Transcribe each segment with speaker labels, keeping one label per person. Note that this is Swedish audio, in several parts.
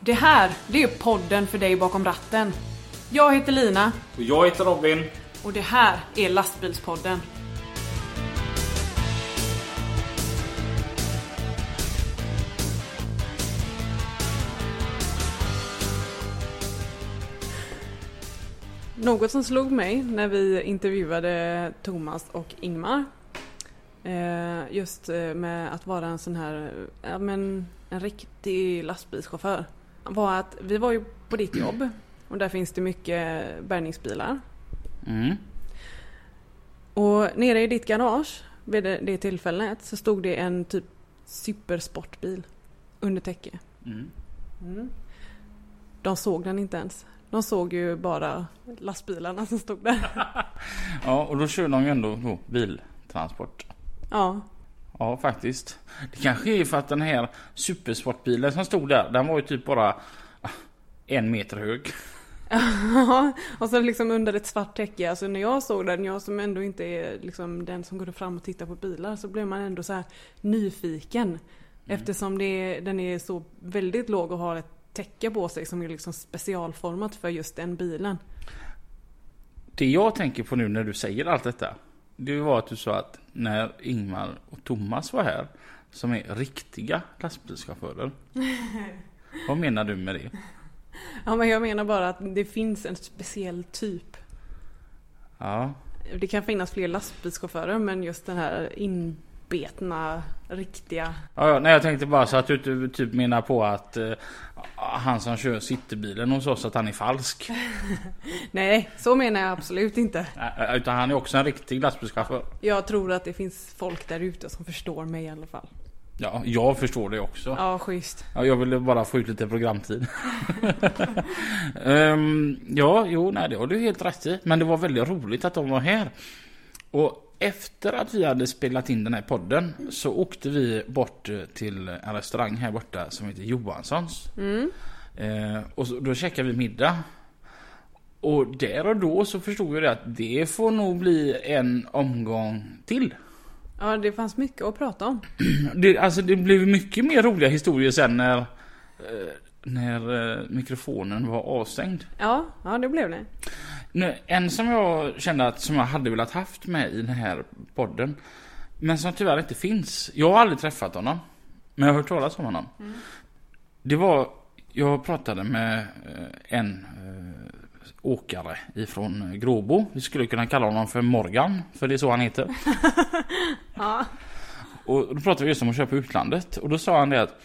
Speaker 1: Det här, det är podden för dig bakom ratten. Jag heter Lina
Speaker 2: Och jag heter Robin.
Speaker 1: och det här är Lastbilspodden. Något som slog mig när vi intervjuade Thomas och Ingmar eh, just eh, med att vara en sån här, eh, ja men en riktig lastbilschaufför var att vi var ju på ditt jobb och där finns det mycket bärgningsbilar.
Speaker 2: Mm.
Speaker 1: Och nere i ditt garage vid det, det tillfället så stod det en typ supersportbil under täcke.
Speaker 2: Mm.
Speaker 1: De såg den inte ens. De såg ju bara lastbilarna som stod där.
Speaker 2: Ja, och då kör de ju ändå då, biltransport.
Speaker 1: Ja,
Speaker 2: Ja, faktiskt. Det kanske är för att den här supersportbilen som stod där, den var ju typ bara ah, en meter hög.
Speaker 1: Ja, och så liksom under ett svart täcke. Alltså när jag såg den, jag som ändå inte är liksom den som går fram och tittar på bilar, så blev man ändå så här nyfiken. Eftersom det, är- den är så väldigt låg och har ett täcke på sig som är liksom specialformat för just den bilen.
Speaker 2: Det jag tänker på nu när du säger allt detta. Det var att du sa att när Ingmar och Thomas var här. Som är riktiga lastbilschaufförer. Vad menar du med det?
Speaker 1: Ja, men jag menar bara att det finns en speciell typ.
Speaker 2: Ja,
Speaker 1: Det kan finnas fler lastbilschaufförer men just den här inbetna, riktiga.
Speaker 2: Ja, ja, nej, jag tänkte bara så att du inte typ menar på att eh, han som kör citybilen hos oss att han är falsk.
Speaker 1: Nej, så menar jag absolut inte.
Speaker 2: Nej, eh, Utan han är också en riktig lastbilschaufför.
Speaker 1: Jag tror att det finns folk där ute som förstår mig i alla fall.
Speaker 2: Ja, jag förstår det också.
Speaker 1: Ja, schysst.
Speaker 2: Ja, jag ville bara få ut lite programtid. Ehm, ja, jo, nej, det har du helt rätt i. Men det var väldigt roligt att de var här. Och efter att vi hade spelat in den här podden så åkte vi bort eh, till en restaurang här borta som heter Johanssons. Eh, och så, då käkade vi middag. Och där och då så förstod jag det att det får nog bli en omgång till.
Speaker 1: Ja, det fanns mycket att prata om.
Speaker 2: Det, alltså det blev mycket mer roliga historier sen när, eh, när eh, mikrofonen var avstängd.
Speaker 1: Ja, ja det blev det.
Speaker 2: Nu, en som jag kände att som jag hade velat haft med i den här podden. Men som tyvärr inte finns. Jag har aldrig träffat honom. Men jag har hört talas om honom. Det var, jag pratade med eh, en eh, åkare ifrån eh, Gråbo. Vi skulle kunna kalla honom för Morgan. För det är så han heter.
Speaker 1: Ja.
Speaker 2: Och då pratade vi just om att köpa på utlandet och då sa han det att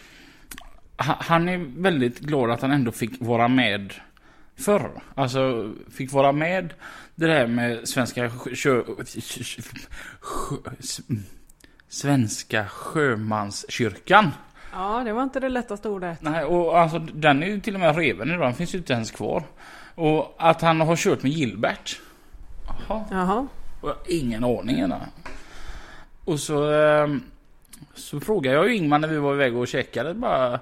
Speaker 2: ha- han är väldigt glad att han ändå fick vara med förr. Alltså fick vara med det här med svenska sjö- sjö... sjö s- Svenska sjömanskyrkan.
Speaker 1: ja, det var inte det lättaste ordet.
Speaker 2: Nej, och alltså den är ju till och med reven idag, den finns ju inte ens kvar. Och att han har kört med Gilbert. Jaha.
Speaker 1: Jaha.
Speaker 2: Och jag har ingen aning ännu. Och så, ehm, så frågade jag ju Ingmar när vi var iväg och käkade bara.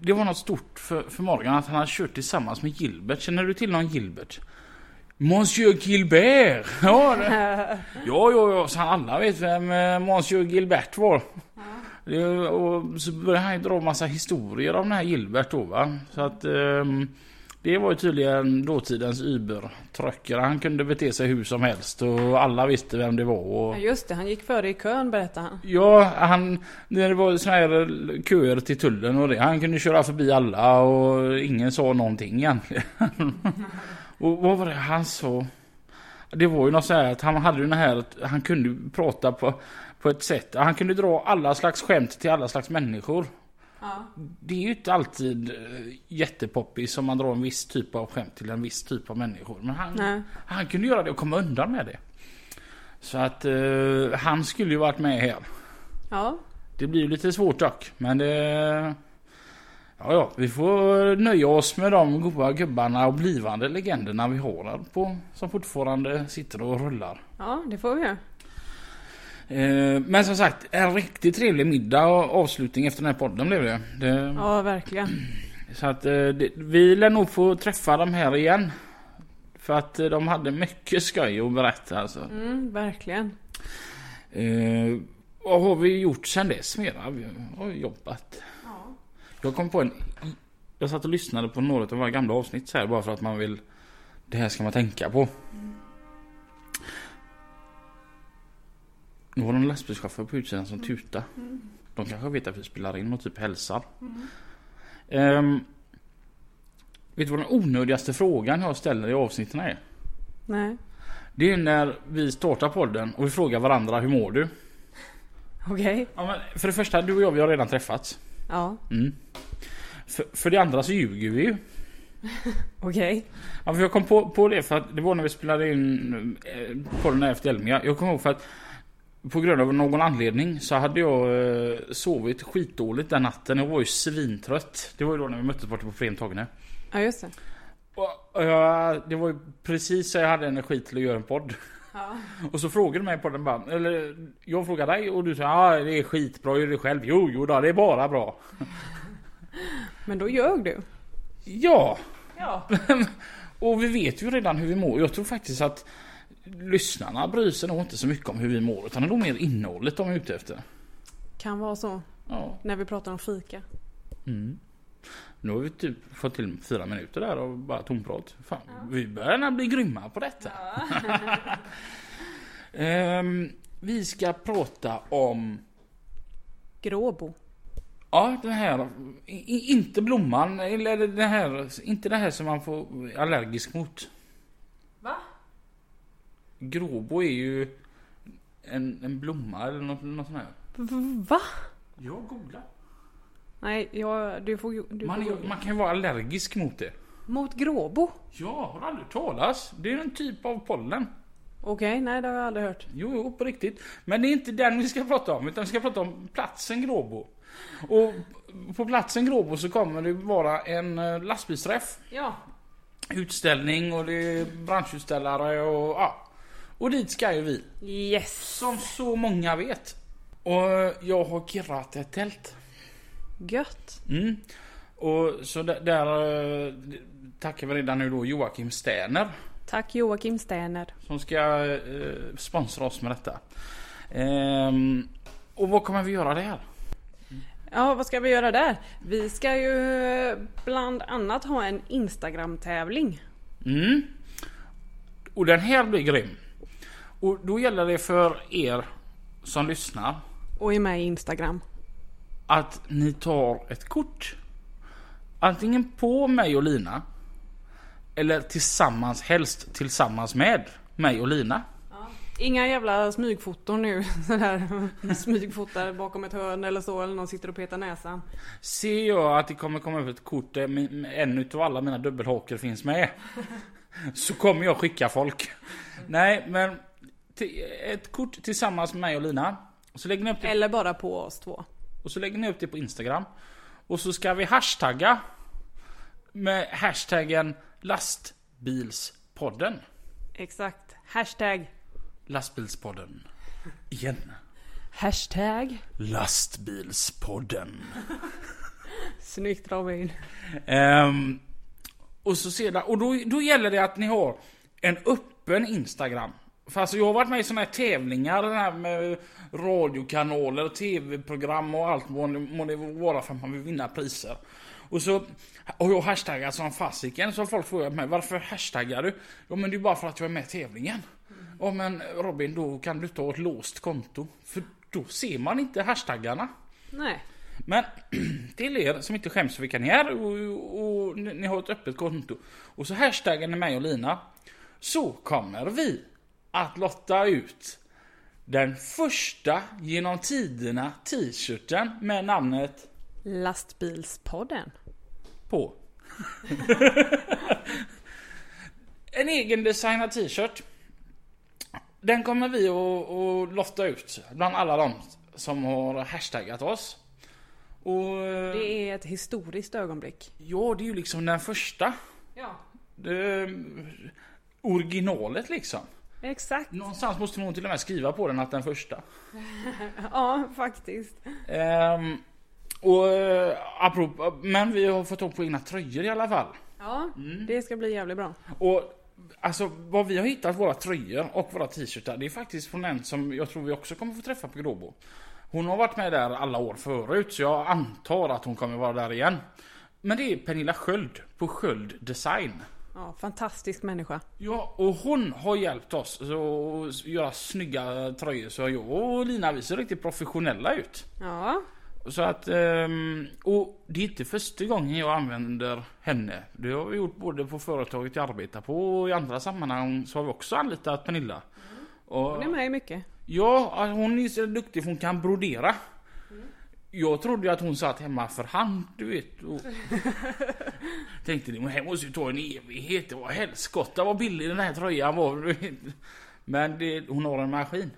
Speaker 2: Det var något stort för, för Morgan att han hade kört tillsammans med Gilbert. Känner du till någon Gilbert? Monsieur Gilbert! Ja, det. ja, ja, ja, så alla vet vem eh, Monsieur Gilbert var. Det, och så började han ju dra massa historier om den här Gilbert då va. Så att ehm, det var ju tydligen dåtidens Uber-truckare. Han kunde bete sig hur som helst och alla visste vem det var. Och...
Speaker 1: Ja, just det. Han gick före i kön berättade han.
Speaker 2: Ja, han, när det var såna här köer till tullen och det, han kunde köra förbi alla och ingen sa någonting egentligen. och vad var det han sa? Det var ju något så här att han hade ju den här, att han kunde ju prata på, på ett sätt, han kunde dra alla slags skämt till alla slags människor.
Speaker 1: Ja.
Speaker 2: Det är ju inte alltid eh, jättepoppis om man drar en viss typ av skämt till en viss typ av människor. Men han,
Speaker 1: Nej.
Speaker 2: han kunde göra det och komma undan med det. Så att eh, han skulle ju varit med här.
Speaker 1: Ja.
Speaker 2: Det blir ju lite svårt dock, men det... Ja, ja, vi får nöja oss med de goda gubbarna och blivande legenderna vi har här på, som fortfarande sitter och rullar.
Speaker 1: ja, det får vi göra.
Speaker 2: Eh, men som sagt, en riktigt trevlig middag och avslutning efter den här podden blev det. det
Speaker 1: Ja, verkligen.
Speaker 2: Så att eh, det, vi lär nog få träffa dem här igen. För att eh, de hade mycket skoj att berätta alltså.
Speaker 1: Mm, verkligen.
Speaker 2: Eh, vad har vi gjort sen dess mera? Vi har jobbat. Jag kom på en Jag satt och lyssnade på några av våra gamla avsnitt så här bara för att man vill... Det här ska man tänka på. Nu var det en lastbilschaufför på utsidan som tuta. De kanske vet att vi spelar in och typ hälsar. Ehm, vet du vad den onödigaste frågan jag ställer i avsnitten är?
Speaker 1: Nej.
Speaker 2: Det är när vi startar podden och vi frågar varandra hur mår du?
Speaker 1: Okej.
Speaker 2: Ja, men för det första, du och jag vi har redan träffats.
Speaker 1: Ja.
Speaker 2: Mm. För, för det andra så ljuger vi ju.
Speaker 1: Okej.
Speaker 2: Ja, för jag kom på, på det för att det var när vi spelade in eh, podden efter Elmia. Jag kommer ihåg för att på grund av någon anledning så hade jag eh, sovit skitdåligt den natten. Jag var ju svintrött. Det var ju då när vi möttes borta på Frentogne.
Speaker 1: Ja just det.
Speaker 2: Och, och jag, det var ju precis så jag hade energi till att göra en podd.
Speaker 1: Ja.
Speaker 2: Och så frågade du mig på den bara, eller jag frågade dig och du sa ja ah, det är skitbra, gör det själv. Jo, jo då, det är bara bra.
Speaker 1: Men då ljög du.
Speaker 2: Ja,
Speaker 1: Ja.
Speaker 2: och vi vet ju redan hur vi mår. Jag tror faktiskt att lyssnarna bryr sig nog inte så mycket om hur vi mår utan det är nog mer innehållet de är ute efter.
Speaker 1: Kan vara så.
Speaker 2: Ja.
Speaker 1: När vi pratar om fika.
Speaker 2: Mm. Nu har vi typ fått till fyra minuter där och bara tomprat. Fan, vi börjar nästan bli grymma på detta. Ehm, vi ska prata om
Speaker 1: Gråbo.
Speaker 2: Ja, den här. i- i- Inte blomman, eller den här. Inte det här som man får allergisk mot.
Speaker 1: Va?
Speaker 2: Gråbo är ju en, en blomma eller något, något sånt här.
Speaker 1: Va?
Speaker 2: Jag googlar.
Speaker 1: Nej, jag, du får... ju- Du
Speaker 2: Man,
Speaker 1: får
Speaker 2: är, man kan ju vara allergisk mot det.
Speaker 1: Mot Gråbo?
Speaker 2: Ja, har du aldrig hört talas? Det är en typ av pollen.
Speaker 1: Okej, nej det har jag aldrig hört.
Speaker 2: Jo, jo, på riktigt. Men det är inte den vi ska prata om, utan vi ska prata om platsen Gråbo. Och på platsen Gråbo så kommer det vara en eh, lastbilsträff.
Speaker 1: Ja.
Speaker 2: utställning och det är branschutställare och ja. Och dit ska ju vi.
Speaker 1: Yes!
Speaker 2: Som så många vet. Och jag har kirrat ett tält.
Speaker 1: Gött!
Speaker 2: Mm. Och så där, där eh, tackar vi redan nu då Joakim Sterner
Speaker 1: Tack Joakim Sterner.
Speaker 2: som ska eh, sponsra oss med detta. Ehm, och vad kommer vi göra där?
Speaker 1: Ja, vad ska vi göra där? Vi ska ju eh, bland annat ha en Instagram-tävling.
Speaker 2: Mm. Och den här blir grym. Och då gäller det för er som lyssnar
Speaker 1: Och är med i Instagram.
Speaker 2: att ni tar ett kort. Antingen på mig och Lina. Eller tillsammans, helst tillsammans med mig och Lina.
Speaker 1: Inga jävla smygfoton nu. Sådär. Smygfotar bakom ett hörn eller så. Eller någon sitter och petar näsan.
Speaker 2: Ser jag att det kommer komma upp ett kort där min- en utav alla mina dubbelhaker finns med. Så kommer jag skicka folk. Nej men. ti- Ett kort tillsammans med mig och Lina. Och så lägger ni upp det,
Speaker 1: Eller bara på oss två.
Speaker 2: och så lägger ni upp det på Instagram. Och så ska vi hashtagga. Med hashtaggen lastbilspodden.
Speaker 1: Exakt. Hashtag.
Speaker 2: Lastbilspodden. Igen.
Speaker 1: Hashtag.
Speaker 2: Lastbilspodden.
Speaker 1: Snyggt Robin.
Speaker 2: Ehm, och så sedan, och då, då gäller det att ni har en öppen Instagram. För alltså jag har varit med i såna här tävlingar, den här med radiokanaler, tv-program och allt må det- må det vara för att man vill vinna priser. Och så har jag hashtaggat som fasiken, så har folk frågat mig varför hashtaggar du? Ja men det är bara för att jag är med i tävlingen. Ja men Robin, då kan du ta ett låst konto. För då ser man inte hashtaggarna.
Speaker 1: Nej.
Speaker 2: Men till er som inte skäms för vilka ni är och, och ni ni har ett öppet konto och så hashtaggar ni mig och Lina så kommer vi att lotta ut den första genom tiderna t-shirten med namnet
Speaker 1: Lastbilspodden.
Speaker 2: på. en egen designad t-shirt. Den kommer vi att, att lotta ut bland alla de som har hashtaggat oss. Och, eh,
Speaker 1: Det är ett historiskt ögonblick.
Speaker 2: Ja, det är ju liksom den första.
Speaker 1: Ja.
Speaker 2: Det, originalet liksom.
Speaker 1: Exakt.
Speaker 2: Någonstans måste man till och med skriva på den att den första.
Speaker 1: Ja, faktiskt.
Speaker 2: Ehm, och eh, apropå, men vi har fått tag på egna tröjor i alla fall.
Speaker 1: Ja, det ska bli jävligt bra.
Speaker 2: Och alltså vad vi har hittat våra tröjor och våra t-shirtar. Det är faktiskt från en som jag tror vi också kommer få träffa på Gråbo. Hon har varit med där alla år förut så jag antar att hon kommer vara där igen. Men det är Pernilla Sköld på Sköld Design.
Speaker 1: Ja, fantastisk människa.
Speaker 2: Ja, och hon har hjälpt oss så att göra snygga tröjor så jag och Lina vi ser riktigt professionella ut.
Speaker 1: Ja,
Speaker 2: Så att, ehm, och det är inte första gången jag använder henne. Det har vi gjort både på företaget jag arbetar på och i andra sammanhang så har vi också anlitat Pernilla. Och,
Speaker 1: Mm. hon är med i mycket.
Speaker 2: ja, alltså, hon är så duktig för hon kan brodera. Jag trodde ju att hon satt hemma för hand, du vet. Och tänkte det här måste ju ta en evighet. Det var helskotta vad billig den här tröjan var. du vet. Men det, hon har en maskin.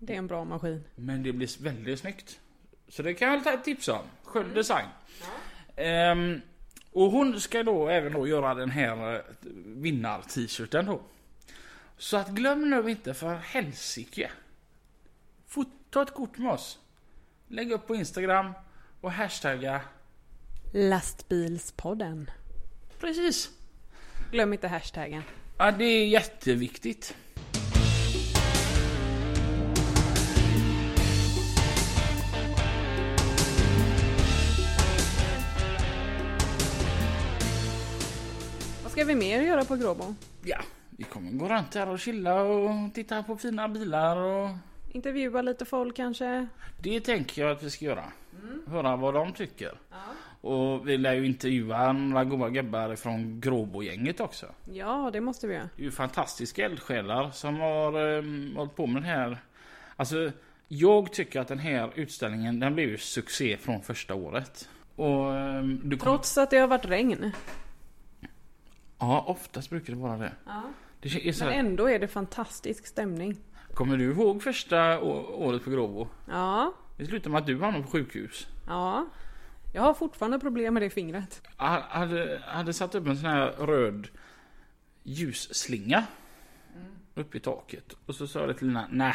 Speaker 1: Det är en bra maskin.
Speaker 2: Men det blir väldigt snyggt. Så det kan jag ta ett tips om. Skön design. Ehm, och hon ska då även då göra den här eh, vinnar-t-shirten då. Så att glöm nu inte för helsike. Fot- Ta ett kort med oss. Lägg upp på Instagram och hashtagga.
Speaker 1: Lastbilspodden.
Speaker 2: Precis.
Speaker 1: Glöm inte hashtaggen.
Speaker 2: Ja, det är jätteviktigt.
Speaker 1: Vad ska vi mer göra på Gråbo?
Speaker 2: Ja, vi kommer gå runt här och chilla och titta på fina bilar och
Speaker 1: Intervjua lite folk kanske?
Speaker 2: Det tänker jag att vi ska göra.
Speaker 1: Mm.
Speaker 2: Höra vad de tycker. Och vi lär ju intervjua några goa gubbar från Gråbogänget också.
Speaker 1: Ja, det måste vi göra.
Speaker 2: Det är ju fantastiska eldsjälar som har um, hållit på med den här. Alltså, jag tycker att den här utställningen den blev ju succé från första året. Och ehm, du kommer...
Speaker 1: Trots att det har varit regn.
Speaker 2: Ja, oftast brukar det vara det. det är så
Speaker 1: Men
Speaker 2: här,
Speaker 1: ändå är det fantastisk stämning.
Speaker 2: Kommer du ihåg första å- året på Gråbo?
Speaker 1: Ja,
Speaker 2: Det slutade med att du hamnade på sjukhus.
Speaker 1: ja. Jag har fortfarande problem med det fingret.
Speaker 2: Han Ah, hade, hade satt upp en sån här röd ljusslinga uppe i taket. Och så sa jag till Lina, nej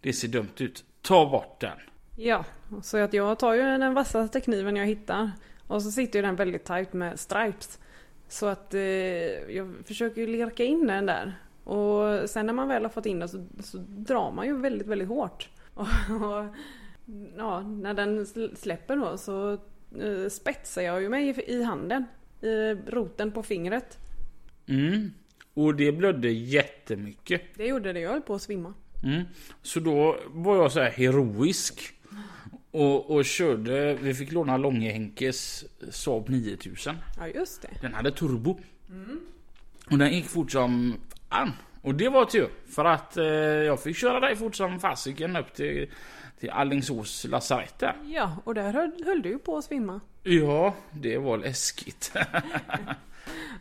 Speaker 2: det ser dumt ut. Ta bort den.
Speaker 1: Ja, så att jag tar ju den vassaste kniven jag hittar. Och så sitter ju den väldigt tajt med stripes. Så att eh, jag försöker ju lirka in den där. Och sen när man väl har fått in den så, så drar man ju väldigt, väldigt hårt. Och, och ja, när den sl- släpper då så eh, spetsar jag ju mig i, i handen. I roten på fingret.
Speaker 2: Mm. Och det blödde jättemycket.
Speaker 1: Det gjorde det, jag höll på att svimma.
Speaker 2: Mm. Så då var jag så här heroisk. Och, och körde, vi fick låna Långe-Henkes Saab 9000.
Speaker 1: Ja, just det.
Speaker 2: Den hade turbo. Och den gick fort som fan. Och det var tur. För att eh, jag fick köra dig fort som fasiken upp till, till Alingsås lasarett där.
Speaker 1: Ja, och där höll, höll du på att svimma.
Speaker 2: Ja, det var läskigt.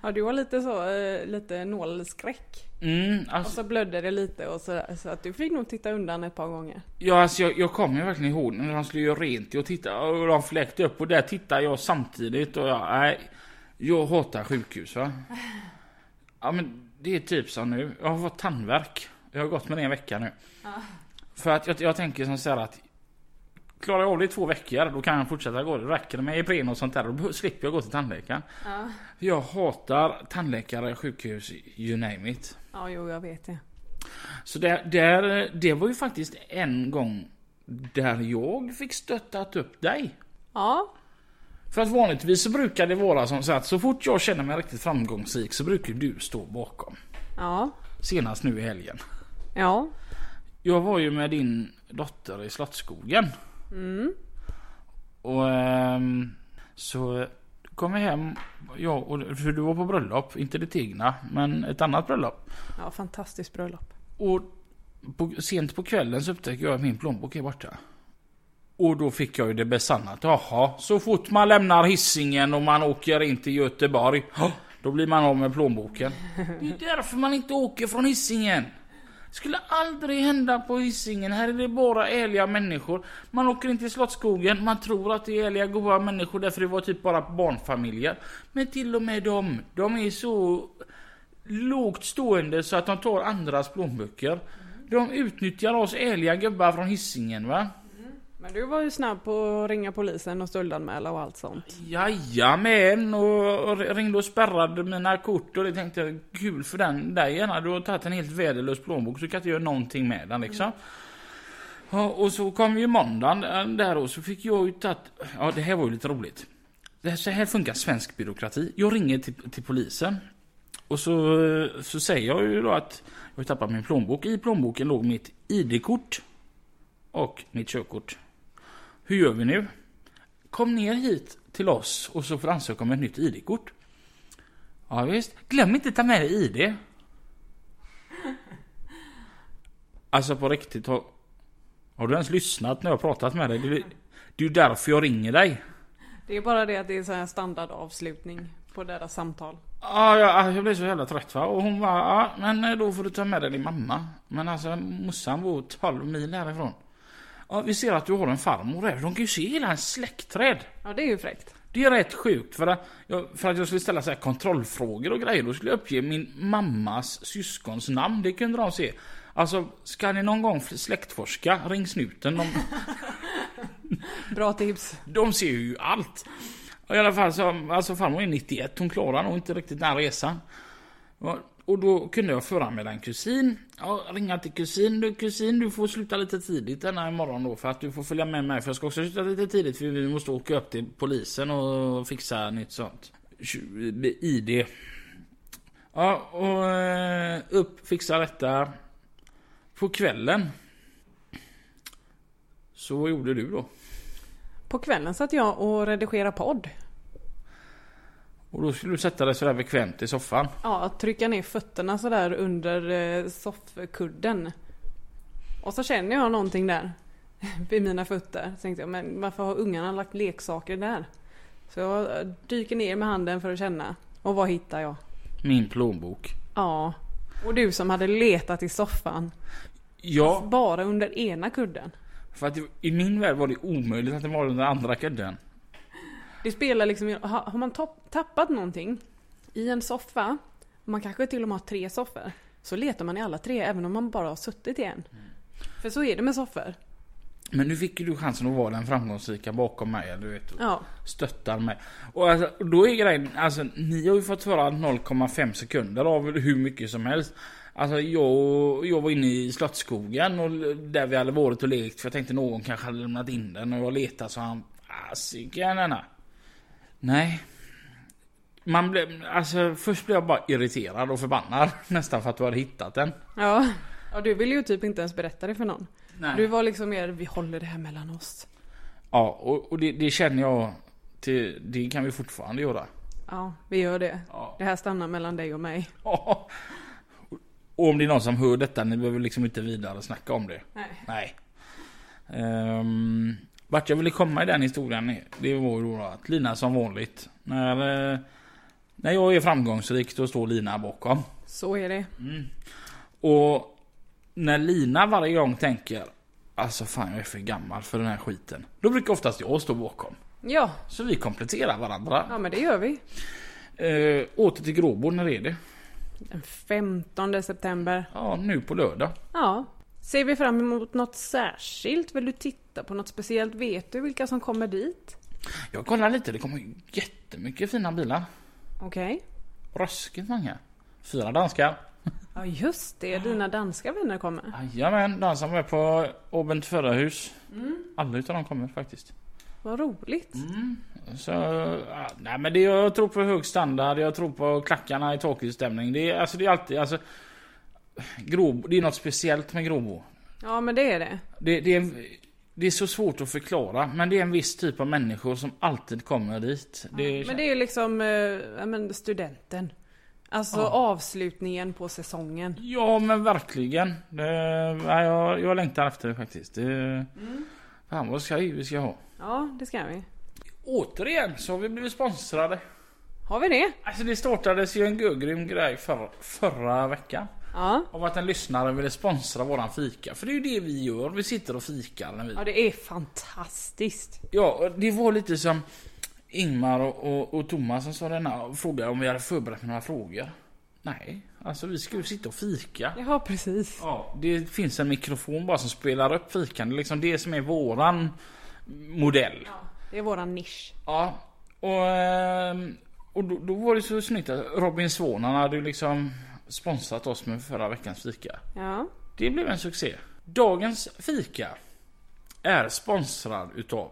Speaker 1: Ja, du var lite så, eh, lite nålskräck.
Speaker 2: mm,
Speaker 1: Och
Speaker 2: alltså,
Speaker 1: så blödde det lite och så, så att du fick nog titta undan ett par gånger.
Speaker 2: ja, alltså, jag, jag kommer ju verkligen ihåg när de skulle göra rent. Jag tittade och de fläkte upp och där tittade jag samtidigt och jag, nej. Jag hatar sjukhus va. Ja men det är typ som nu. Jag har fått tandvärk. Jag har gått med det en vecka nu. För att jag, jag tänker som så här att Klarar jag av det i två veckor då kan jag fortsätta gå. Det räcker det med Ipren och sånt där då slipper jag gå till tandläkaren.
Speaker 1: Ja.
Speaker 2: Jag hatar tandläkare, sjukhus, you name it.
Speaker 1: Ja, jo, jag vet det.
Speaker 2: Så där, där, det var ju faktiskt en gång där jag fick stöttat upp dig.
Speaker 1: Ja,
Speaker 2: För att vanligtvis så brukar det vara som så att så fort jag känner mig riktigt framgångsrik så brukar du stå bakom.
Speaker 1: ja,
Speaker 2: Senast nu i helgen.
Speaker 1: ja,
Speaker 2: Jag var ju med din dotter i Slottsskogen.
Speaker 1: mm,
Speaker 2: Och ehm, så kom vi hem, jag och, för du var på bröllop, inte ditt egna, men ett annat bröllop.
Speaker 1: ja, fantastiskt bröllop.
Speaker 2: Och på, sent på kvällen så upptäckte jag att min plånbok är borta. Och då fick jag ju det besannat. Jaha, så fort man lämnar hissingen och man åker in till Göteborg, ja, då blir man av med plånboken. Det är därför man inte åker från hissingen. Det skulle aldrig hända på hissingen. Här är det bara ärliga människor. Man åker in till Slottsskogen, man tror att det är ärliga, goa människor därför det var typ bara barnfamiljer. Men till och med de, de är så lågt stående så att de tar andras plånböcker. De utnyttjar oss ärliga gubbar från hissingen va?
Speaker 1: Men du var ju snabb på att ringa polisen och stöldanmäla och allt sånt.
Speaker 2: Jajamän och och ringde och spärrade mina kort och det tänkte jag kul för den där gärna. Du har tagit en helt värdelös plånbok så kan jag inte göra någonting med den liksom. Ja, och så kom ju måndagen eh, där och så fick jag ju tagit, ja det här var ju lite roligt. det här, så här funkar svensk byråkrati. Jag ringer till, till polisen. Och så, eh, så säger jag ju då att jag har tappat min plånbok. I plånboken låg mitt ID-kort och mitt körkort. Hur gör vi nu? Kom ner hit till oss och så får du ansöka om ett nytt ID-kort. Ja visst. Glöm inte ta med dig ID. Alltså på riktigt. Har, har du ens lyssnat när jag har pratat med dig? Det, är- det är ju därför jag ringer dig.
Speaker 1: Det är bara det att det är så här standardavslutning på deras samtal.
Speaker 2: Ja, alltså, jag, jag blev så jävla trött va. Och hon bara, ja men eh, då får du ta med dig din mamma. Men alltså morsan bor 12 mil härifrån. Ja, vi ser att du har en farmor där. De kan ju se hela hans släktträd.
Speaker 1: Ja det är ju fräckt.
Speaker 2: Det är rätt sjukt för att jag, för att jag skulle ställa så här kontrollfrågor och grejer då skulle jag uppge min mammas syskons namn. Det kunde de se. Alltså, ska ni någon gång släktforska? Ring snuten. De,
Speaker 1: Bra tips.
Speaker 2: de ser ju allt. Och I alla fall så, alltså farmor är 91. Hon klarar nog inte riktigt den här resan. Och- Och då kunde jag föra med en kusin. Ja, ringa till kusin. Du kusin, du får sluta lite tidigt den här morgonen då för att du får följa med mig. För jag ska också sluta lite tidigt för vi måste åka upp till polisen och fixa nytt sånt. Tju- med ID. Ja, och eh, upp, fixa detta. På kvällen. Så vad gjorde du då?
Speaker 1: På kvällen satt jag och redigerade podd.
Speaker 2: Och då skulle du sätta dig sådär bekvämt i soffan.
Speaker 1: Ja, att trycka ner fötterna sådär under eh, soffkudden. Och så känner jag någonting där. Vid mina fötter. Så tänkte jag, men varför har ungarna lagt leksaker där? Så jag eh, dyker ner med handen för att känna. Och vad hittar jag?
Speaker 2: Min plånbok.
Speaker 1: Ja. Och du som hade letat i soffan.
Speaker 2: Ja,
Speaker 1: Bara under ena kudden.
Speaker 2: för att det, i min värld var det omöjligt att det var den andra kudden.
Speaker 1: Det spelar liksom, har har man topp, tappat någonting i en soffa, och man kanske till och med har tre soffor, så letar man i alla tre även om man bara har suttit i en. För så är det med soffor.
Speaker 2: Men nu fick ju du chansen att vara den framgångsrika bakom mig, du vet. och
Speaker 1: Ja,
Speaker 2: Stöttar mig. Och alltså, då är grejen, alltså ni har ju fått höra 0,5 sekunder av hur mycket som helst. Alltså jag, jag var inne i Slottsskogen och l- där vi hade varit och lekt för jag tänkte någon kanske hade lämnat in den och jag letade så han, fasiken denna. Nej. Man blev, alltså först blev jag bara irriterad och förbannad nästan för att du hade hittat den.
Speaker 1: ja. Och du ville ju typ inte ens berätta det för någon.
Speaker 2: Nej.
Speaker 1: Du var liksom mer, vi håller det här mellan oss.
Speaker 2: Ja, och, och det, det känner jag, till, det kan vi fortfarande göra.
Speaker 1: Ja, vi gör det.
Speaker 2: Ja.
Speaker 1: Det här stannar mellan dig och mig.
Speaker 2: Ja. Och om det är någon som hör detta, ni behöver liksom inte vidare snacka om det.
Speaker 1: Nej.
Speaker 2: Nej. Ehm, vart jag ville komma i den historien, det var ju då att Lina som vanligt. När, eh, när jag är framgångsrik, då står Lina bakom.
Speaker 1: Så är det.
Speaker 2: Och när Lina varje gång tänker, alltså fan jag är för gammal för den här skiten. Då brukar oftast jag stå bakom.
Speaker 1: Ja,
Speaker 2: Så vi kompletterar varandra.
Speaker 1: ja men det gör vi.
Speaker 2: Eh, åter till Gråbo, när är det?
Speaker 1: Den 15 september.
Speaker 2: Ja, nu på lördag.
Speaker 1: Ja. Ser vi fram emot något särskilt? Vill du titta på något speciellt? Vet du vilka som kommer dit?
Speaker 2: Jag kollar lite, det kommer ju jättemycket fina bilar.
Speaker 1: Okej.
Speaker 2: Ruskigt många. Fyra danskar.
Speaker 1: Ja just det, dina danska vänner kommer.
Speaker 2: Jajamän, de som är på Åbent förarhus. Alla utav dem kommer faktiskt.
Speaker 1: Vad roligt.
Speaker 2: Så, ja, nej men det, jag tror på hög standard, jag tror på klackarna i tåkigstämning. Det, är- alltså, det är alltid, alltså. Grobo, det är något speciellt med Grobo.
Speaker 1: Ja men det är det.
Speaker 2: Det, det, är, det är så svårt att förklara, men det är en viss typ av människor som alltid kommer dit. Det,
Speaker 1: Men det är ju liksom eh, ja, men studenten. Alltså avslutningen på säsongen.
Speaker 2: Ja men verkligen. Det, nej, jag, jag längtar efter det faktiskt. Det, Fan vad skoj vi ska ha.
Speaker 1: Ja, det ska vi.
Speaker 2: Återigen så har vi blivit sponsrade.
Speaker 1: Har vi det?
Speaker 2: Alltså det startades ju en grym grej för, förra veckan.
Speaker 1: Ja.
Speaker 2: Av att en lyssnare ville sponsra våran fika. För det är ju det vi gör. Vi sitter och fikar när vi...
Speaker 1: Ja det är fantastiskt.
Speaker 2: Ja, och det var lite som Ingmar och, och, och Thomas som sa denna och frågade om vi hade förberett några frågor. Nej, alltså vi ska ju sitta och fika.
Speaker 1: Ja precis.
Speaker 2: Ja, det finns en mikrofon bara som spelar upp fikan. Det är liksom det som är våran modell.
Speaker 1: Det är våran nisch.
Speaker 2: Ja, och, ehm, och då, då var det så snyggt att Robin Svahn han hade ju liksom sponsrat oss med förra veckans fika.
Speaker 1: Ja.
Speaker 2: Det blev en succé. Dagens fika är sponsrad utav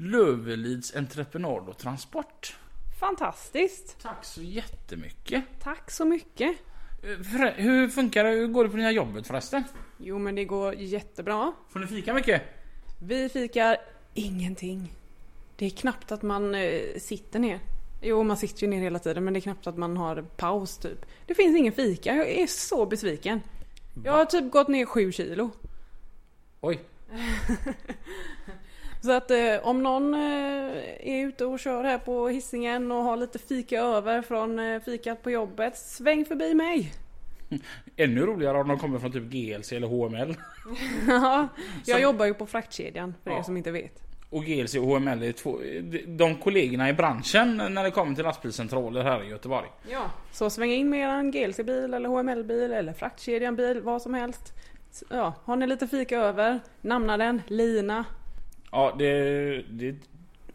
Speaker 2: Lövelids entreprenad och transport.
Speaker 1: Fantastiskt!
Speaker 2: Tack så jättemycket.
Speaker 1: Tack så mycket!
Speaker 2: Eh, förre- Hur funkar det? Hur går det på nya jobbet förresten?
Speaker 1: Jo men det går jättebra.
Speaker 2: Får ni fika mycket?
Speaker 1: Vi fikar ingenting. Det är knappt att man eh, sitter ner. Jo, man sitter ju ner hela tiden men det är knappt att man har paus typ. Det finns ingen fika. Jag är så besviken. Jag har typ gått ner sju kilo.
Speaker 2: Oj,
Speaker 1: Så att eh, om någon eh, är ute och kör här på hissingen och har lite fika över från eh, fikat på jobbet, sväng förbi mig!
Speaker 2: ännu roligare om de kommer från typ GLC eller HML.
Speaker 1: Ja, jag
Speaker 2: Som-
Speaker 1: jobbar ju på fraktkedjan för er
Speaker 2: Ja.
Speaker 1: som inte vet.
Speaker 2: Och GLC och HML är två, de kollegorna i branschen när det kommer till lastbilscentraler här i Göteborg.
Speaker 1: Ja. Så sväng in med er GLC-bil eller HML-bil eller fraktkedjan-bil, vad som helst. S- Ja, har ni lite fika över, namna den, Lina.
Speaker 2: Ja, det, det...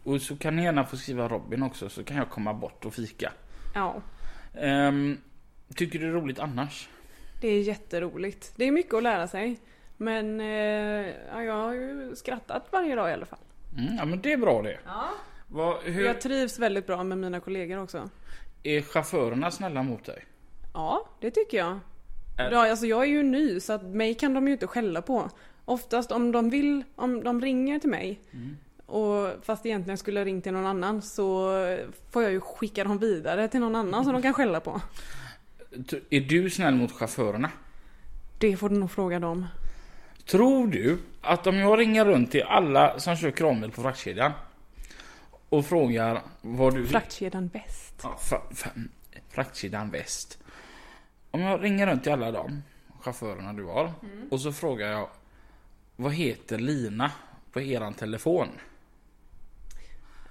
Speaker 2: Och så kan ni gärna få skriva Robin också så kan jag komma bort och fika.
Speaker 1: Ja,
Speaker 2: Ehm, tycker du det är roligt annars?
Speaker 1: det är jätteroligt. Det är mycket att lära sig. Men eh, ja, jag har ju skrattat varje dag i alla fall.
Speaker 2: Mm, ja men det är bra det.
Speaker 1: Ja.
Speaker 2: Vad, hur,
Speaker 1: Jag trivs väldigt bra med mina kollegor också.
Speaker 2: Är chaufförerna snälla mot dig?
Speaker 1: Ja, det tycker jag.
Speaker 2: Är-
Speaker 1: Ja, alltså jag är ju ny så att mig kan de ju inte skälla på. Oftast om de vill, om de ringer till mig och fast egentligen skulle jag ringt till någon annan så får jag ju skicka dem vidare till någon annan som de kan skälla på.
Speaker 2: T- Är du snäll mot chaufförerna?
Speaker 1: Det får du nog fråga dem.
Speaker 2: Tror du att om jag ringer runt till alla som kör kranbil på fraktkedjan och frågar vad du...
Speaker 1: Fraktkedjan Väst.
Speaker 2: Ja, fra- fra- fraktkedjan Väst. Om jag ringer runt till alla de chaufförerna du har och så frågar jag vad heter Lina på eran telefon?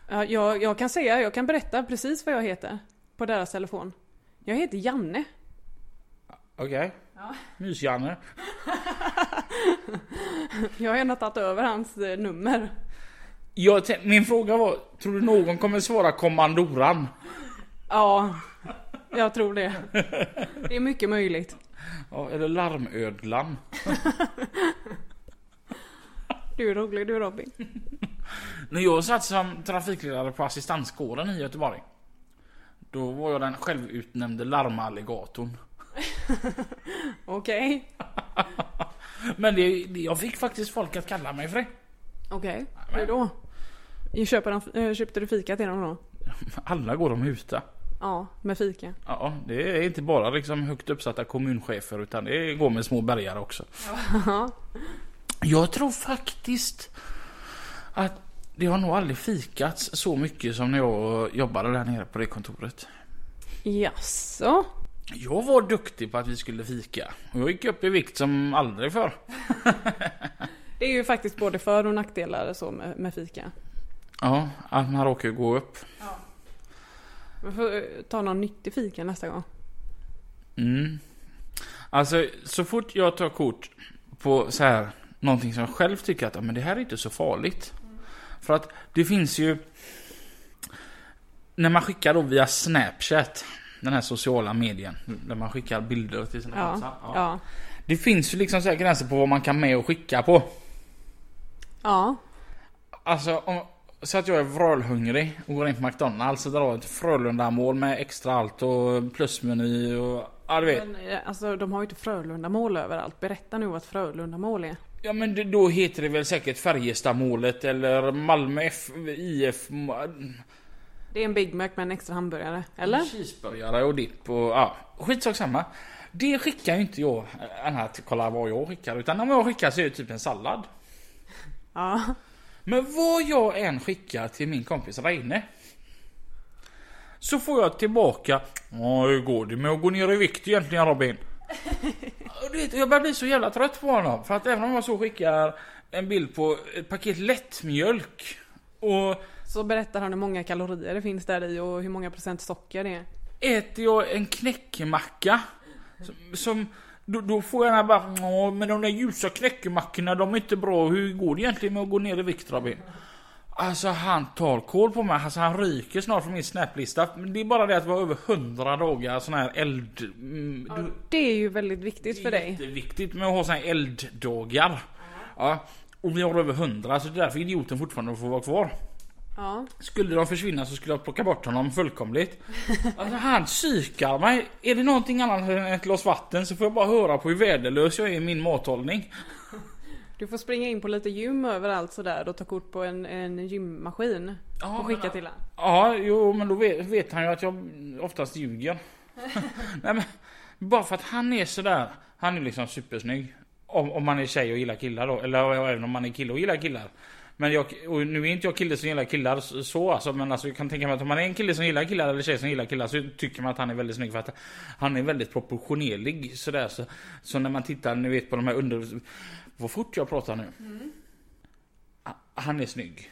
Speaker 1: Ja, jag, jag kan säga, jag kan berätta precis vad jag heter på deras telefon. Jag heter Janne.
Speaker 2: Okej? Mys-Janne.
Speaker 1: Jag har gärna tagit över hans eh, nummer.
Speaker 2: Jag tän- Min fråga var, tror du någon kommer svara kommandoran?
Speaker 1: Ja, jag tror det. Det är mycket möjligt.
Speaker 2: Ja, eller larmödlan?
Speaker 1: Du är rolig du Robin.
Speaker 2: När jag satt som trafikledare på assistanskåren i Göteborg. Då var jag den självutnämnde larmalligatorn.
Speaker 1: Okej.
Speaker 2: Men det, det, jag fick faktiskt folk att kalla mig för det.
Speaker 1: Okej. Hur då? I köper de, eh, köpte du fika till dem då?
Speaker 2: Alla går de uta.
Speaker 1: Ja, med fika.
Speaker 2: Ja, det är inte bara liksom högt uppsatta kommunchefer utan det går med små bergare också.
Speaker 1: Ja.
Speaker 2: Jag tror faktiskt att det har nog aldrig fikats så mycket som när jag jobbade där nere på det kontoret.
Speaker 1: Jaså?
Speaker 2: Jag var duktig på att vi skulle fika. Och jag gick upp i vikt som aldrig förr.
Speaker 1: Det är ju faktiskt både för och nackdelar så med, med fika.
Speaker 2: Ja, att man råkar ju gå upp.
Speaker 1: Vi får eh, ta någon nyttig fika nästa gång.
Speaker 2: Mm. Alltså, så fort jag tar kort på så här, någonting som jag själv tycker att ja, men det här är inte så farligt. För att det finns ju... När man skickar då via Snapchat, den här sociala medien, där man skickar bilder till sina
Speaker 1: Ja.
Speaker 2: kompisar. Ja.
Speaker 1: Ja.
Speaker 2: Det finns ju liksom så här gränser på vad man kan med och skicka på.
Speaker 1: Ja.
Speaker 2: Alltså, om, så att jag är vrölhungrig och går in på McDonalds och drar ett Frölunda-mål med extra allt och plusmeny och... Ja, du vet.
Speaker 1: Men eh, alltså de har ju inte Frölundamål överallt. Berätta nu vad ett Frölundamål är.
Speaker 2: Ja men det- då heter det väl säkert Färjestadmålet eller Malmö F, IF... ma-
Speaker 1: Det är en Big Mac med en extra hamburgare.
Speaker 2: Mm.
Speaker 1: Eller?
Speaker 2: Cheeseburgare och dipp och ja, skitsak samma. Det skickar ju inte jag, eh, den här till kolla vad jag skickar utan om jag skickar så är det typ en sallad.
Speaker 1: Ja.
Speaker 2: Men vad jag än skickar till min kompis Reine så får jag tillbaka Ja hur går det med att gå ner i vikt egentligen Robin? Och du vet, jag börjar bli så jävla trött på honom för att även om jag så skickar en bild på ett paket lättmjölk och
Speaker 1: Så berättar han hur många kalorier det finns där i och hur många procent socker det är.
Speaker 2: äter jag en knäckemacka som, som då, då får jag den här bara ja men de där ljusa knäckemackorna de är inte bra. Hur går det egentligen med att gå ner i vikt Robin? Alltså han tar koll på mig. Alltså, han ryker snart från min snaplista. Men det är bara det att det var över 100 dagar sån här eld... Mm, du-
Speaker 1: Det är ju väldigt viktigt för dig.
Speaker 2: det är viktigt med att ha såna här elddagar. Ja. Och vi har över 100 så det är därför idioten fortfarande får vara kvar.
Speaker 1: Ja.
Speaker 2: Skulle de försvinna så skulle jag plocka bort honom fullkomligt. Alltså han psykar mig. Är det någonting annat än ett glas vatten så får jag bara höra på hur värdelös jag är i min mathållning.
Speaker 1: Du får springa in på lite gym överallt sådär och ta kort på en, en gymmaskin. och skicka till han.
Speaker 2: Ja, jo men då vet, vet han ju att jag oftast ljuger. Nej men, bara för att han är sådär. Han är liksom supersnygg. Om, om man är tjej och gillar killar då. Eller ja, även om man är kille och gillar killar. Men jag, och nu är inte jag kille som gillar killar s- så alltså, men alltså, jag kan tänka mig att om man är en kille som gillar killar eller tjej som gillar killar så tycker man att han är väldigt snygg för att han är väldigt proportionerlig sådär. Så, så när man tittar, ni vet på de här under... Vad fort jag pratar nu. Ah, Han är snygg.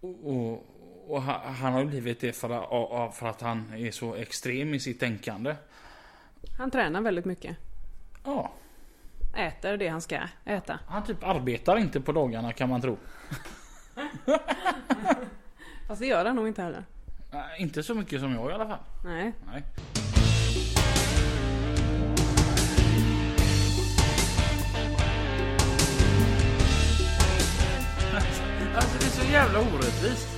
Speaker 2: Och, och, och ha- han har ju blivit det för att, av- av- för att han är så extrem i sitt tänkande.
Speaker 1: Han tränar väldigt mycket.
Speaker 2: Ja,
Speaker 1: Äter det han ska äta.
Speaker 2: han typ arbetar inte på dagarna kan man tro.
Speaker 1: Fast det gör han nog inte heller.
Speaker 2: Nej, inte så mycket som jag i alla fall.
Speaker 1: Nej.
Speaker 2: Nej. Alltså det är så jävla orättvist.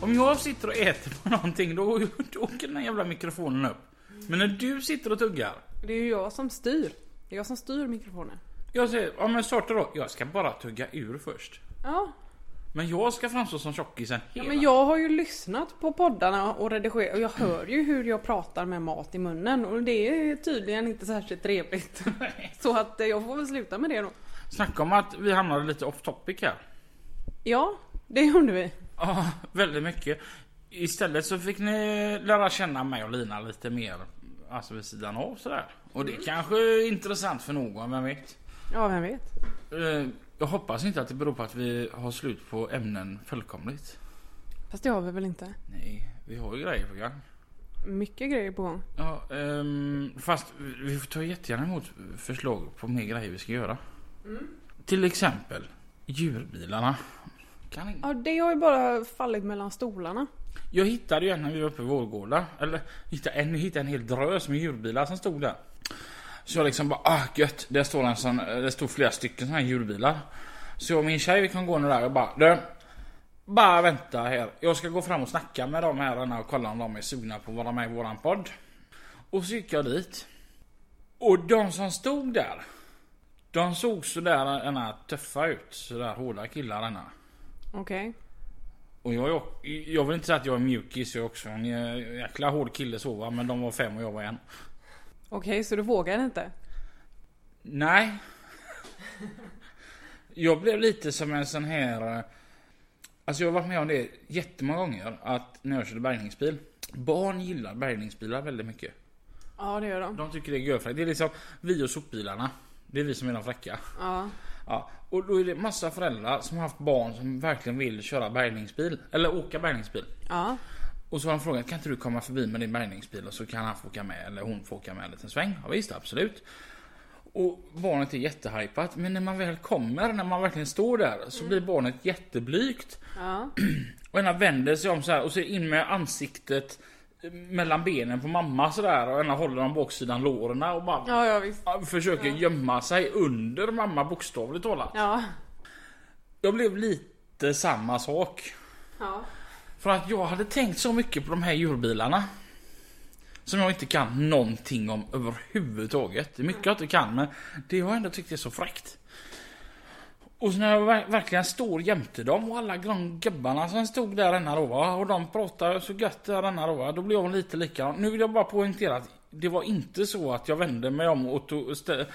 Speaker 2: Om jag sitter och äter på någonting då, då åker den här jävla mikrofonen upp. Men när du sitter och tuggar.
Speaker 1: Det är ju jag som styr. Det är jag som styr mikrofonen.
Speaker 2: Jag säger, ja men starta då. Jag ska bara tugga ur först.
Speaker 1: Ja.
Speaker 2: Men jag ska framstå som tjockisen
Speaker 1: ja,
Speaker 2: hela
Speaker 1: men jag har ju lyssnat på poddarna och redigerat och jag hör ju hur jag pratar med mat i munnen och det är tydligen inte särskilt trevligt. Så att eh, jag får väl sluta med det då.
Speaker 2: Snacka om att vi hamnade lite off topic här.
Speaker 1: Ja, det gjorde vi.
Speaker 2: Ja, väldigt mycket. Istället så fick ni lära känna mig och Lina lite mer. Alltså vid sidan av sådär. Och det
Speaker 1: Mm.
Speaker 2: kanske är intressant för någon, vem vet?
Speaker 1: Ja, vem vet.
Speaker 2: Eh, Jag hoppas inte att det beror på att vi har slut på ämnen fullkomligt.
Speaker 1: Fast det har vi väl inte?
Speaker 2: Nej, vi har ju grejer på gång.
Speaker 1: Mycket grejer på gång.
Speaker 2: Ja, ehm, fast vi får ta jättegärna emot förslag på mer grejer vi ska göra. Till exempel djurbilarna. Kan
Speaker 1: Ja, det har ju bara fallit mellan stolarna.
Speaker 2: Jag hittade ju en när vi var uppe i Vårgårda. Eller hittade en, hittade en hel drös med djurbilar som stod där. Så jag liksom bara ah gött. Där står en sån, eh, det stod flera stycken såna här djurbilar. Så jag och min tjej vi kan gå nu där och bara du. Bara vänta här. Jag ska gå fram och snacka med de här och kolla om de är sugna på att vara med i våran podd. Och så gick jag dit. Och de som stod där. De såg sådär ena tuffa ut. Sådär hårda killar denna.
Speaker 1: Okej.
Speaker 2: Och jag, är ock- jag vill inte säga att jag är mjukis, jag är också en eh, jäkla hård kille så va, men de var fem och jag var en.
Speaker 1: Okej, så du vågar inte?
Speaker 2: Nej. Jag blev lite som en sån här... eh, Alltså jag har varit med om det jättemånga gånger, att när jag körde bärgningsbil. Barn gillar bärgningsbilar väldigt mycket.
Speaker 1: Ja, det gör de.
Speaker 2: De tycker det är görfräckt. Det är liksom vi och sopbilarna. Det är vi som är de fräcka.
Speaker 1: Ja.
Speaker 2: Ja, och då är det massa föräldrar som har haft barn som verkligen vill köra bärgningsbil. Eller åka bärgningsbil.
Speaker 1: Ja.
Speaker 2: Och så har han frågat kan inte du komma förbi med din bärgningsbil och så kan han få åka med eller hon får åka med en liten sväng. Ja, visst, absolut. Och barnet är jättehypat men när man väl kommer, när man verkligen står där så blir barnet jätteblygt.
Speaker 1: Ja.
Speaker 2: Och ena vänder sig om så här och så in med ansiktet eh, mellan benen på mamma sådär och ena håller om baksidan låren och bara
Speaker 1: Ja, ja visst.
Speaker 2: ah, försöker gömma sig under mamma bokstavligt talat.
Speaker 1: Ja.
Speaker 2: Jag blev lite samma sak.
Speaker 1: Ja.
Speaker 2: För att jag hade tänkt så mycket på de här djurbilarna. Som jag inte kan någonting om överhuvudtaget. Det är mycket jag inte kan men det har jag ändå tyckt är så fräckt. Och så när jag ver- verkligen står jämte dem och alla de gubbarna som stod där denna då va, och de pratar så gött där denna då va, då blir jag lite likadan. Nu vill jag bara poängtera att det var inte så att jag vände mig om och tog stä-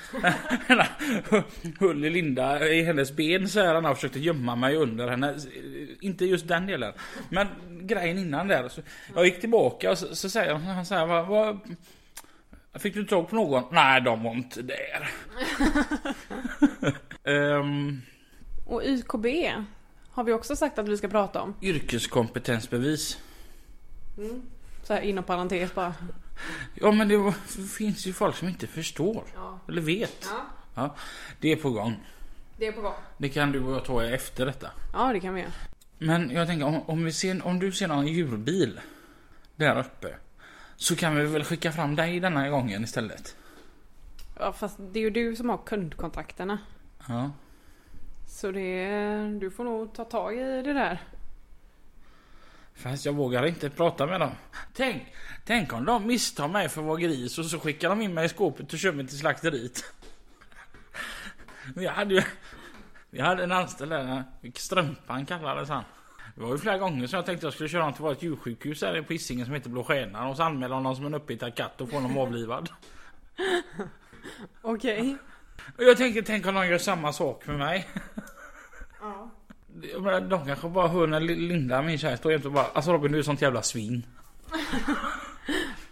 Speaker 2: höll i Linda i hennes ben så här och försökte gömma mig under henne. Inte just den delen. Men grejen innan där. Så jag gick tillbaka och så, så säger han så här, vad, vad, Fick du tag på någon? Nej, de var inte där. Ehm,
Speaker 1: Och YKB har vi också sagt att vi ska prata om.
Speaker 2: yrkeskompetensbevis.
Speaker 1: Så här inom parentes bara.
Speaker 2: Ja, men det var, finns ju folk som inte förstår.
Speaker 1: Ja.
Speaker 2: Eller vet.
Speaker 1: Ja.
Speaker 2: Ja, det är på gång.
Speaker 1: Det är på gång.
Speaker 2: Det kan du och jag ta efter detta.
Speaker 1: Ja, det kan vi göra.
Speaker 2: Men jag tänker om, om, vi ser, om du ser någon djurbil där uppe. Så kan vi väl skicka fram dig denna gången istället.
Speaker 1: Ja, fast det är ju du som har kundkontakterna.
Speaker 2: Ja.
Speaker 1: Så det, du får nog ta tag i det där.
Speaker 2: Fast jag vågar inte prata med dem. Tänk, tänk om de misstar mig för att vara gris och så skickar de in mig i skåpet och kör mig till slakteriet. Men jag hade ju... Jag hade en anställd där, Strumpan kallades han. Det var ju flera gånger som jag tänkte jag skulle köra honom till vårt djursjukhus här på Hisingen som heter Blå Stjärnan och så anmäla honom som en upphittad katt och få honom avlivad.
Speaker 1: Okej.
Speaker 2: Och jag tänkte, tänk om de gör samma sak med mig.
Speaker 1: Ja.
Speaker 2: Jag menar, De kanske bara hör när Linda, min tjej, står jämte och bara Alltså Robin du är sånt jävla svin.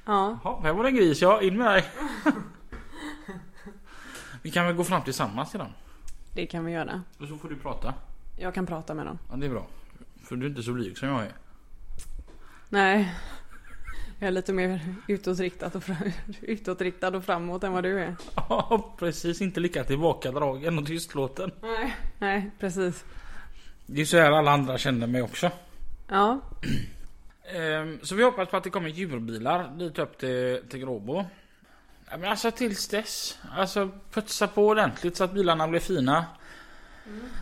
Speaker 1: Ja.
Speaker 2: Ja, här var det en gris ja, in med dig. Vi kan väl gå fram tillsammans till dem?
Speaker 1: Det kan vi göra.
Speaker 2: Och så får du prata.
Speaker 1: Jag kan prata med dem.
Speaker 2: Ja det är bra. För du är inte så blyg som jag är.
Speaker 1: Nej. Jag är lite mer utåtriktad och, fram- utåtriktad och framåt än vad du är.
Speaker 2: Ja precis, inte lika tillbakadragen och tystlåten.
Speaker 1: Nej. Nej, precis.
Speaker 2: Det är så här alla andra känner mig också.
Speaker 1: Ja.
Speaker 2: Ehm, Så vi hoppas på att det kommer djurbilar dit upp till, till Gråbo. Ja, men alltså tills dess. Alltså putsa på ordentligt så att bilarna blir fina.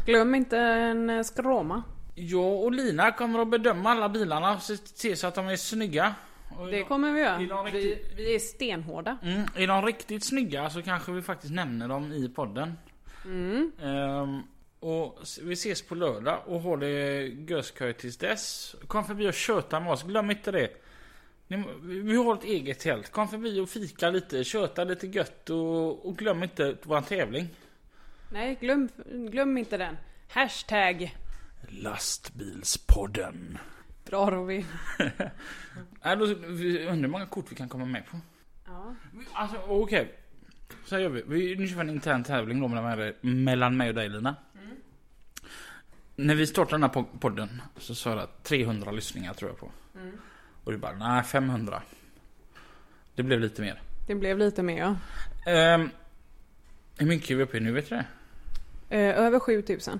Speaker 1: Glöm inte en eh, skråma.
Speaker 2: Jag och Lina kommer att bedöma alla bilarna och se- se så att de är snygga. Och
Speaker 1: Det kommer vi
Speaker 2: Vill du ha
Speaker 1: göra.
Speaker 2: en
Speaker 1: Vi,
Speaker 2: riktig-
Speaker 1: vi är stenhårda.
Speaker 2: Mm, är de riktigt snygga så kanske vi faktiskt nämner dem i podden.
Speaker 1: Mm.
Speaker 2: Ehm, och s- vi ses på lördag och håll det göskö tills dess. Kom förbi och köta med oss, glöm inte det. Ni, må- vi- vi har ett eget tält. Kom förbi och fika lite, köta lite gött och, och glöm inte vår tävling.
Speaker 1: Nej, glöm, glöm inte den. Hashtag.
Speaker 2: Lastbilspodden.
Speaker 1: Bra Robin.
Speaker 2: Äh, då, vi- undrar hur många kort vi kan komma med på.
Speaker 1: Ja.
Speaker 2: Alltså okej. Så här gör vi. vi. Nu kör vi en intern tävling då mellan, mellan mig och dig Lina. När vi startade den här po- podden så sa jag att 300 lyssningar tror jag på. Och du bara nej 500. Det blev lite mer.
Speaker 1: Det blev lite mer ja.
Speaker 2: Ehm, hur mycket är vi uppe i nu vet du det?
Speaker 1: Eh, över 7000.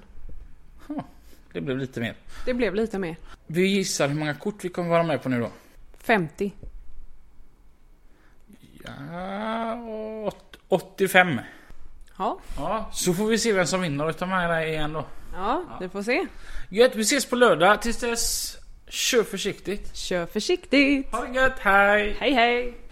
Speaker 2: Det blev lite mer.
Speaker 1: Det blev lite mer.
Speaker 2: Vi gissar hur många kort vi kommer vara med på nu då?
Speaker 1: 50.
Speaker 2: Ja, åt- 85.
Speaker 1: Ja.
Speaker 2: Ja, så får vi se vem som vinner utav mig där igen då.
Speaker 1: Ja, vi får se.
Speaker 2: Gött, vi ses på lördag. Tills dess, kör försiktigt.
Speaker 1: Kör försiktigt.
Speaker 2: Ha det gött, hej!
Speaker 1: Hej hej.